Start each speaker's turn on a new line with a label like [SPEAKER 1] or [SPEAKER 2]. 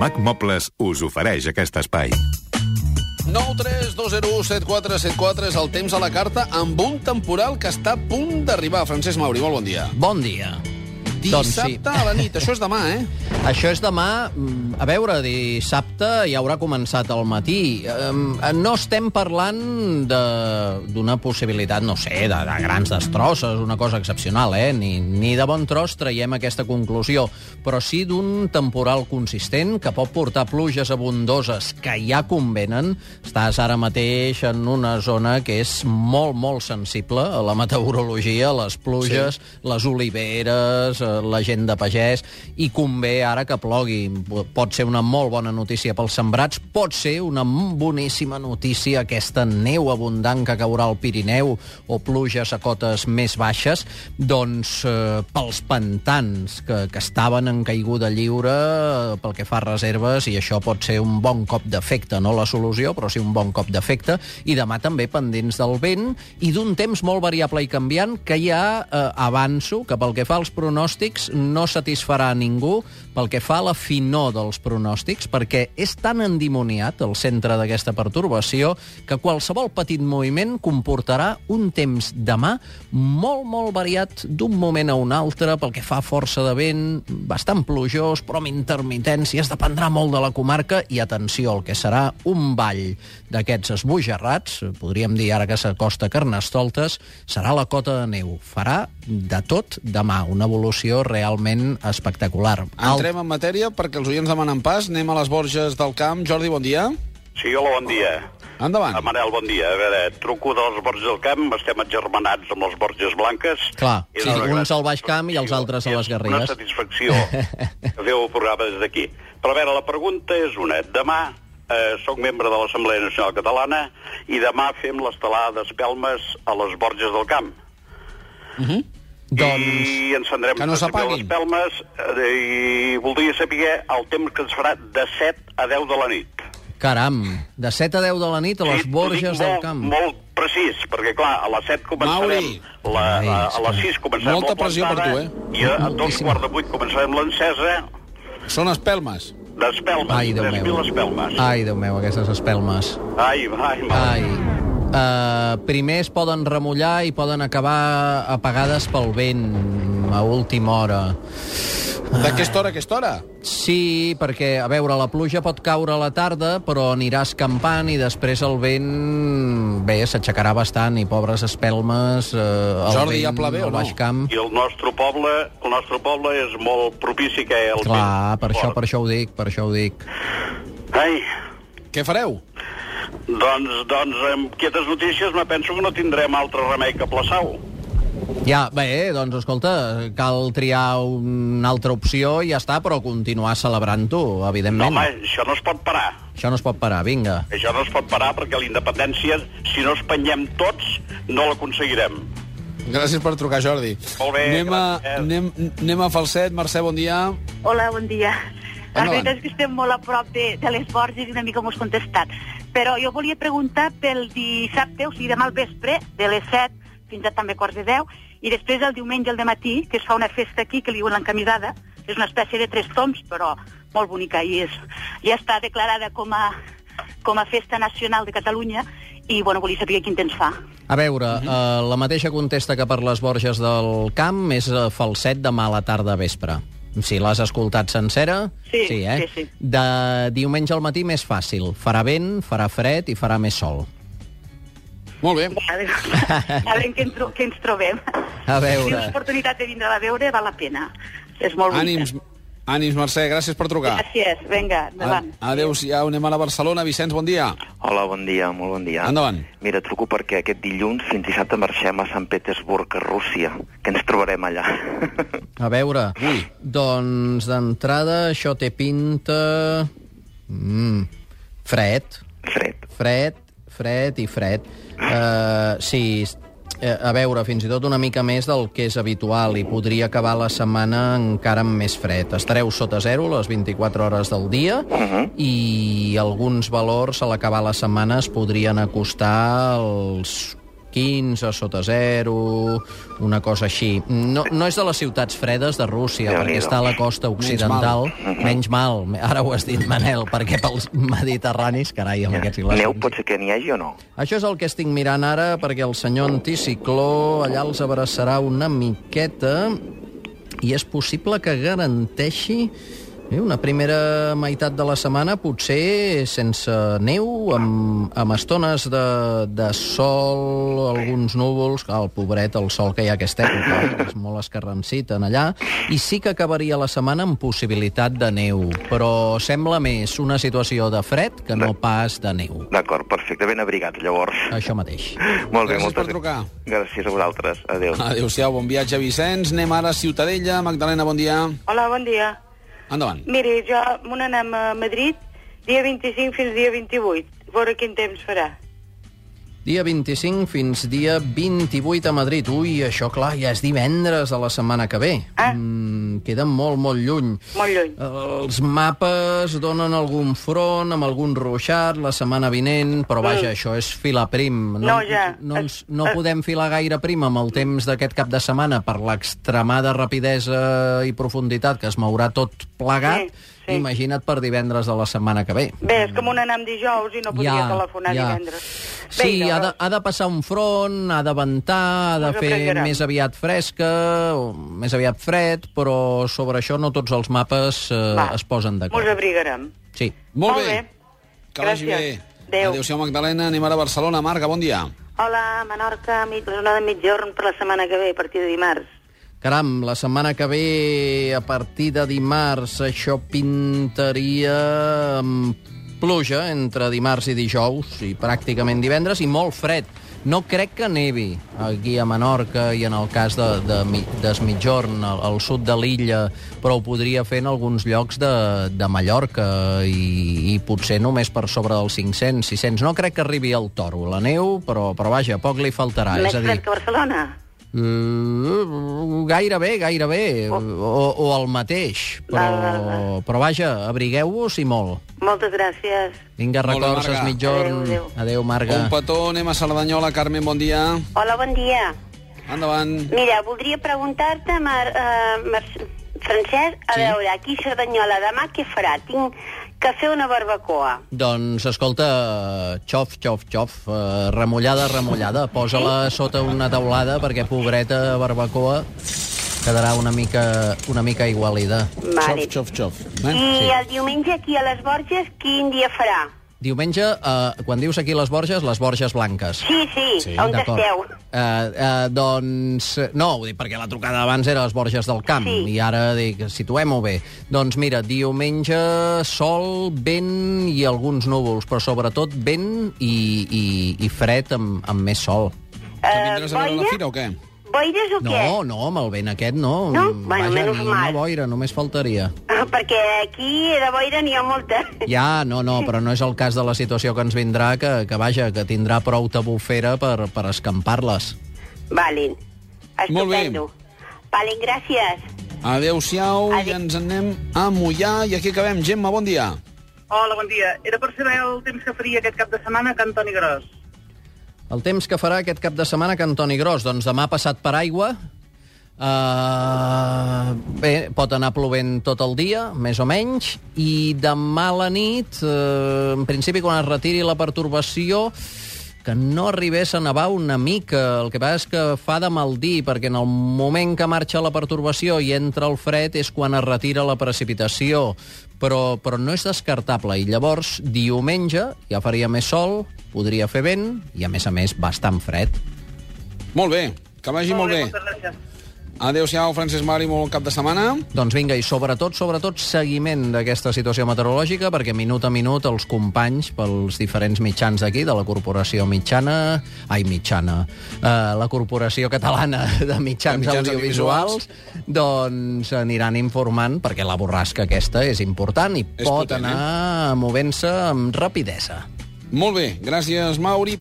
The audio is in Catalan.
[SPEAKER 1] Mac Mobles us ofereix aquest espai.
[SPEAKER 2] 9 3 2 0 1 7 4 7 4 és el temps a la carta amb un temporal que està a punt d'arribar. Francesc Mauri, molt bon dia.
[SPEAKER 3] Bon dia. Doncs sí.
[SPEAKER 2] Dissabte a la nit, això és demà, eh?
[SPEAKER 3] Això és demà, mm, a veure, dissabte ja haurà començat al matí. Em, eh, No estem parlant de- d'una possibilitat, no sé, de, de grans destrosses, una cosa excepcional, eh? Ni, ni de bon tros traiem aquesta conclusió, però sí d'un temporal consistent que pot portar pluges abundoses que ja convenen. Estàs ara mateix en una zona que és molt, molt sensible a la meteorologia, a les pluges, sí. les oliveres, eh, la gent de pagès, i convé ara que plogui. Pot ser una molt bona notícia pels sembrats, pot ser una boníssima notícia aquesta neu abundant que caurà al Pirineu o pluges a cotes més baixes, doncs eh, pels pantans que, que estaven en caiguda lliure eh, pel que fa a reserves, i això pot ser un bon cop d'efecte, no la solució, però sí un bon cop d'efecte, i demà també pendents del vent i d'un temps molt variable i canviant que ja eh, avanço que pel que fa als pronòstics no satisfarà a ningú pel que fa a la finor dels pronòstics perquè és tan endimoniat el centre d'aquesta pertorbació que qualsevol petit moviment comportarà un temps demà molt, molt variat d'un moment a un altre pel que fa a força de vent, bastant plujós, però amb intermitències, dependrà molt de la comarca i atenció al que serà un ball d'aquests esbojarrats, podríem dir ara que s'acosta Carnestoltes, serà la cota de neu. Farà de tot demà, una evolució realment espectacular.
[SPEAKER 2] Entrem en matèria perquè els oients demanen pas. Anem a les Borges del Camp. Jordi, bon dia.
[SPEAKER 4] Sí, hola, bon dia.
[SPEAKER 2] Endavant.
[SPEAKER 4] Ah, Manel, bon dia. A veure, truco de les Borges del Camp, estem atgermanats amb les Borges Blanques.
[SPEAKER 3] Clar,
[SPEAKER 4] És
[SPEAKER 3] sí,
[SPEAKER 4] una gran
[SPEAKER 3] uns al Baix Camp i els
[SPEAKER 4] satisfacció.
[SPEAKER 3] altres a les
[SPEAKER 4] És
[SPEAKER 3] Garrigues.
[SPEAKER 4] una satisfacció que feu el programa des d'aquí. Però a veure, la pregunta és una. Demà eh, sóc membre de l'Assemblea Nacional Catalana i demà fem l'estelada d'espelmes a les Borges del Camp.
[SPEAKER 3] Doncs...
[SPEAKER 4] I encendrem
[SPEAKER 2] que no
[SPEAKER 4] també
[SPEAKER 2] s'apaguin.
[SPEAKER 4] les pelmes eh, i voldria saber el temps que ens farà de 7 a 10 de la nit.
[SPEAKER 3] Caram, de 7 a 10 de la nit a les
[SPEAKER 4] Sí, ho dic
[SPEAKER 3] Borges del
[SPEAKER 4] molt,
[SPEAKER 3] Camp.
[SPEAKER 4] Molt precís, perquè clar, a les 7 començarem...
[SPEAKER 2] Mauri!
[SPEAKER 4] La,
[SPEAKER 3] Ai,
[SPEAKER 4] a, a
[SPEAKER 3] esclar.
[SPEAKER 4] les 6 començarem
[SPEAKER 2] Molta
[SPEAKER 4] la
[SPEAKER 2] pressió per
[SPEAKER 4] plantada,
[SPEAKER 2] tu,
[SPEAKER 4] I a, a dos
[SPEAKER 3] eh? Moltíssima.
[SPEAKER 4] quarts de 8 començarem l'encesa
[SPEAKER 2] Són espelmes.
[SPEAKER 4] d'espelmes,
[SPEAKER 3] Ai, Déu
[SPEAKER 4] 3.000 espelmes.
[SPEAKER 3] meu. Ai, Déu meu, aquestes espelmes.
[SPEAKER 4] ai, ai,
[SPEAKER 3] Ai.
[SPEAKER 4] ai.
[SPEAKER 3] Uh, primer es poden remullar i poden acabar apagades pel vent a última hora.
[SPEAKER 2] D'aquesta hora a aquesta hora?
[SPEAKER 3] Sí, perquè, a veure, la pluja pot caure a la tarda, però anirà escampant i després el vent... Bé, s'aixecarà bastant i pobres espelmes... Eh, el
[SPEAKER 2] Jordi,
[SPEAKER 3] vent,
[SPEAKER 2] ja plava o
[SPEAKER 3] al Baix
[SPEAKER 2] no?
[SPEAKER 3] Camp...
[SPEAKER 4] I el nostre poble, el nostre poble és molt propici que el
[SPEAKER 3] Clar,
[SPEAKER 4] vent
[SPEAKER 3] per això,
[SPEAKER 4] fort.
[SPEAKER 3] per això ho dic, per això ho dic.
[SPEAKER 4] Ai,
[SPEAKER 2] Què fareu?
[SPEAKER 4] doncs, doncs, amb aquestes notícies me penso que no tindrem altre remei que plaçar-ho.
[SPEAKER 3] Ja, bé, doncs escolta, cal triar una altra opció i ja està, però continuar celebrant-ho,
[SPEAKER 4] No,
[SPEAKER 3] evidentment.
[SPEAKER 4] home, això no es pot parar.
[SPEAKER 3] Això no es pot parar, vinga.
[SPEAKER 4] Això no es pot parar perquè la independència, si no espanyem tots, no l'aconseguirem.
[SPEAKER 2] Gràcies per trucar, Jordi.
[SPEAKER 4] Molt bé,
[SPEAKER 2] anem, a,
[SPEAKER 4] gràcies.
[SPEAKER 2] anem, anem a Falset. Mercè, bon dia.
[SPEAKER 5] Hola, bon dia. La
[SPEAKER 2] Endavant.
[SPEAKER 5] veritat és que estem molt a prop de, de les Borges i una mica m'ho has contestat. Però jo volia preguntar pel dissabte, o sigui, demà al vespre, de les 7 fins a també quarts de 10, i després el diumenge al matí, que es fa una festa aquí que li diuen l'encamisada, és una espècie de tres toms, però molt bonica, i és, ja està declarada com a, com a festa nacional de Catalunya, i bueno, volia saber quin temps fa.
[SPEAKER 3] A veure,
[SPEAKER 5] Mhm.
[SPEAKER 3] uh -huh. la mateixa contesta que per les Borges del Camp és eh, falset demà a la tarda a vespre. Si l'has escoltat sencera...
[SPEAKER 5] Sí,
[SPEAKER 3] sí, eh?
[SPEAKER 5] sí, sí.
[SPEAKER 3] De diumenge al matí més fàcil. Farà vent, farà fred i farà més sol.
[SPEAKER 2] Molt bé.
[SPEAKER 5] A veure, a veure què, en tro- què ens trobem.
[SPEAKER 3] A veure.
[SPEAKER 5] Si l'oportunitat de vindre a veure val la pena. És molt bonica.
[SPEAKER 2] Ànims, ànims Mercè. Gràcies per trucar.
[SPEAKER 5] Gràcies, vinga, endavant.
[SPEAKER 2] A- Adéu-siau. Anem a la Barcelona. Vicenç, bon dia.
[SPEAKER 6] Hola, bon dia, molt bon dia.
[SPEAKER 2] Endavant.
[SPEAKER 6] Mira, truco perquè aquest dilluns fins dissabte marxem a Sant Petersburg, a Rússia, que ens trobarem allà.
[SPEAKER 3] A veure,
[SPEAKER 2] Ui.
[SPEAKER 3] doncs d'entrada això té pinta... Mm, fred,
[SPEAKER 6] Fred.
[SPEAKER 3] fred, fred i fred. Uh, sí, eh, a veure, fins i tot una mica més del que és habitual i podria acabar la setmana encara amb més fred. Estareu sota zero les 24 hores del dia uh -huh. i alguns valors a l'acabar la setmana es podrien acostar als 15 sota 0, una cosa així. No, no és de les ciutats fredes de Rússia,
[SPEAKER 6] Déu-n'hi-do.
[SPEAKER 3] perquè està a la costa occidental. Menys mal. Ara ho has dit, Manel, perquè pels mediterranis, carai, amb aquests i les...
[SPEAKER 6] Neu pot ser que n'hi hagi o no?
[SPEAKER 3] Això és el que estic mirant ara, perquè el senyor anticicló allà els abraçarà una miqueta i és possible que garanteixi eh, una primera meitat de la setmana potser sense neu, amb, amb estones de, de sol, alguns núvols, clar, el pobret, el sol que hi ha a aquesta època, és molt escarransit en allà, i sí que acabaria la setmana amb possibilitat de neu, però sembla més una situació de fred que no pas de neu.
[SPEAKER 6] D'acord, perfecte, ben abrigat, llavors.
[SPEAKER 3] Això mateix.
[SPEAKER 6] Molt bé,
[SPEAKER 2] Eh, Gràcies
[SPEAKER 6] moltes
[SPEAKER 2] per trucar.
[SPEAKER 6] Gràcies a vosaltres. Adéu.
[SPEAKER 2] Adéu-siau, bon viatge, Vicenç. Anem ara a Ciutadella. Magdalena, bon dia.
[SPEAKER 7] Hola, bon dia.
[SPEAKER 2] Endavant.
[SPEAKER 7] Miri, jo m'ho anem a Madrid dia 25 fins dia 28. A veure quin temps farà.
[SPEAKER 3] Dia 25 fins dia 28 a Madrid. Ui, això, clar, ja és divendres de la setmana que ve.
[SPEAKER 7] Ah.
[SPEAKER 3] Mm, queda molt, molt lluny.
[SPEAKER 7] Molt lluny.
[SPEAKER 3] Els mapes donen algun front amb algun ruixat la setmana vinent, però vaja, això és filar prim.
[SPEAKER 7] Mm. No, ja. Eh,
[SPEAKER 3] No, ens, no podem filar gaire prim amb el temps d'aquest cap de setmana per l'extremada rapidesa i profunditat que es mourà tot plegat.
[SPEAKER 7] Sí, sí.
[SPEAKER 3] Imagina't per divendres de la setmana que ve.
[SPEAKER 7] Bé, és que m'ho anem dijous i no podia ja, telefonar ja. divendres. Bé,
[SPEAKER 3] Sí,
[SPEAKER 7] i
[SPEAKER 3] ha de,
[SPEAKER 7] llavors-
[SPEAKER 3] ha de passar un front, ha de ventar, ha de
[SPEAKER 7] Us ho
[SPEAKER 3] fer
[SPEAKER 7] prendrà.
[SPEAKER 3] més aviat fresca, o més aviat fred, però sobre això no tots els mapes eh,
[SPEAKER 7] Va,
[SPEAKER 3] es posen
[SPEAKER 7] Mos
[SPEAKER 3] d'acord.
[SPEAKER 7] abrigarem.
[SPEAKER 3] Sí.
[SPEAKER 2] Molt,
[SPEAKER 7] Molt
[SPEAKER 2] bé.
[SPEAKER 7] bé.
[SPEAKER 2] Que vagi
[SPEAKER 7] Gràcies.
[SPEAKER 2] bé.
[SPEAKER 7] Adéu.
[SPEAKER 2] Adéu-siau, Magdalena. Anem ara a Barcelona. Marga, bon dia.
[SPEAKER 7] Hola, Menorca, mig, la jornada de migjorn per la setmana que ve, a partir de dimarts.
[SPEAKER 3] Caram, la setmana que ve, a partir de dimarts, això pintaria amb pluja entre dimarts i dijous i pràcticament divendres i molt fred. No crec que nevi aquí a Menorca i en el cas de, de, Mi- d'Esmitjorn, al, al sud de l'illa, però ho podria fer en alguns llocs de, de Mallorca i, i potser només per sobre dels 500, 600. No crec que arribi al toro la neu, però, però vaja, poc li faltarà.
[SPEAKER 7] Més
[SPEAKER 3] Ah, és a dir,
[SPEAKER 7] fred que Barcelona.
[SPEAKER 3] Mm, gairebé, gairebé.
[SPEAKER 7] Oh.
[SPEAKER 3] O, o el mateix.
[SPEAKER 7] Val, val,
[SPEAKER 3] Però, però vaja, abrigueu-vos i molt.
[SPEAKER 7] Moltes gràcies.
[SPEAKER 3] Vinga,
[SPEAKER 2] Molt bé,
[SPEAKER 3] records,
[SPEAKER 2] Marga.
[SPEAKER 3] es mitjorn.
[SPEAKER 7] Adéu, adéu.
[SPEAKER 3] Adéu,
[SPEAKER 2] Un
[SPEAKER 3] Marga.
[SPEAKER 2] petó. Anem a Cerdanyola. Carmen, bon dia.
[SPEAKER 8] Hola, bon dia.
[SPEAKER 2] Endavant.
[SPEAKER 8] Mira, voldria preguntar-te, Mar, eh, Mar, Francesc, a sí. veure, aquí a Cerdanyola, demà què farà? Tinc que fer una barbacoa.
[SPEAKER 3] Doncs, escolta, xof, xof, xof, eh, remullada, remullada. Posa-la sota una taulada perquè, pobreta barbacoa, quedarà una mica, una mica igualida.
[SPEAKER 8] Vale.
[SPEAKER 2] Xof, xof, xof.
[SPEAKER 8] I
[SPEAKER 2] Eh?
[SPEAKER 5] Mm,
[SPEAKER 8] el diumenge aquí a les Borges, quin dia farà?
[SPEAKER 3] Diumenge, eh, quan dius aquí les Borges, les Borges Blanques.
[SPEAKER 8] Sí, sí,
[SPEAKER 2] Sí,
[SPEAKER 8] sí on
[SPEAKER 3] D'acord.
[SPEAKER 8] esteu?
[SPEAKER 3] Eh, eh, doncs, no, ho dic perquè la trucada abans era a les Borges del Camp,
[SPEAKER 8] Sí.
[SPEAKER 3] i ara dic, situem-ho bé. Doncs mira, diumenge, sol, vent i alguns núvols, però sobretot vent i, i, i fred amb, amb més sol.
[SPEAKER 2] Que
[SPEAKER 5] eh,
[SPEAKER 2] vindràs a veure la
[SPEAKER 8] Eh, boira?
[SPEAKER 2] fira o què?
[SPEAKER 8] Boires o què?
[SPEAKER 3] No, no, amb el vent aquest no.
[SPEAKER 8] No? Bueno, menys
[SPEAKER 3] ni
[SPEAKER 8] mal.
[SPEAKER 3] una boira, només faltaria.
[SPEAKER 8] Ah, Perquè aquí de boira n'hi ha molta.
[SPEAKER 3] Ja, no, no, però no és el cas de la situació que ens vindrà, que, que vaja, que tindrà prou tabufera per, per escampar-les.
[SPEAKER 8] Vale.
[SPEAKER 2] Molt bé.
[SPEAKER 8] Estupendo. Vale, gràcies.
[SPEAKER 2] Adéu-siau i
[SPEAKER 8] Adéu.
[SPEAKER 2] ens en anem a mullar. I aquí acabem. Gemma, bon dia.
[SPEAKER 9] Hola, bon dia. Era per saber el temps que faria aquest cap de setmana a Can Toni Gros.
[SPEAKER 3] El temps que farà aquest cap de setmana que Antoni Gros, doncs demà passat per aigua, Uh, bé, pot anar plovent tot el dia, més o menys, i demà a la nit, uh, en principi quan es retiri la pertorbació, que no arribés a nevar una mica. El que passa és que fa de mal dir, perquè en el moment que marxa la pertorbació i entra el fred és quan es retira la precipitació. Però, però no és descartable. I llavors, diumenge, ja faria més sol, podria fer vent, i a més a més, bastant fred.
[SPEAKER 2] Molt bé. Que vagi molt bé.
[SPEAKER 9] Moltes gràcies.
[SPEAKER 2] Adéu-siau, Francesc Mari, molt cap de setmana.
[SPEAKER 3] Doncs vinga, i sobretot, sobretot, seguiment d'aquesta situació meteorològica, perquè minut a minut els companys pels diferents mitjans d'aquí, de la Corporació Mitjana... Ai, Mitjana... Eh, la Corporació Catalana de
[SPEAKER 2] De
[SPEAKER 3] Mitjans,
[SPEAKER 2] mitjans
[SPEAKER 3] Audiovisuals,
[SPEAKER 2] audiovisuals.
[SPEAKER 3] doncs aniran informant, perquè la borrasca aquesta és important i
[SPEAKER 2] És
[SPEAKER 3] pot
[SPEAKER 2] potent, eh?
[SPEAKER 3] anar movent-se amb rapidesa.
[SPEAKER 2] Molt bé. Gràcies, Mauri.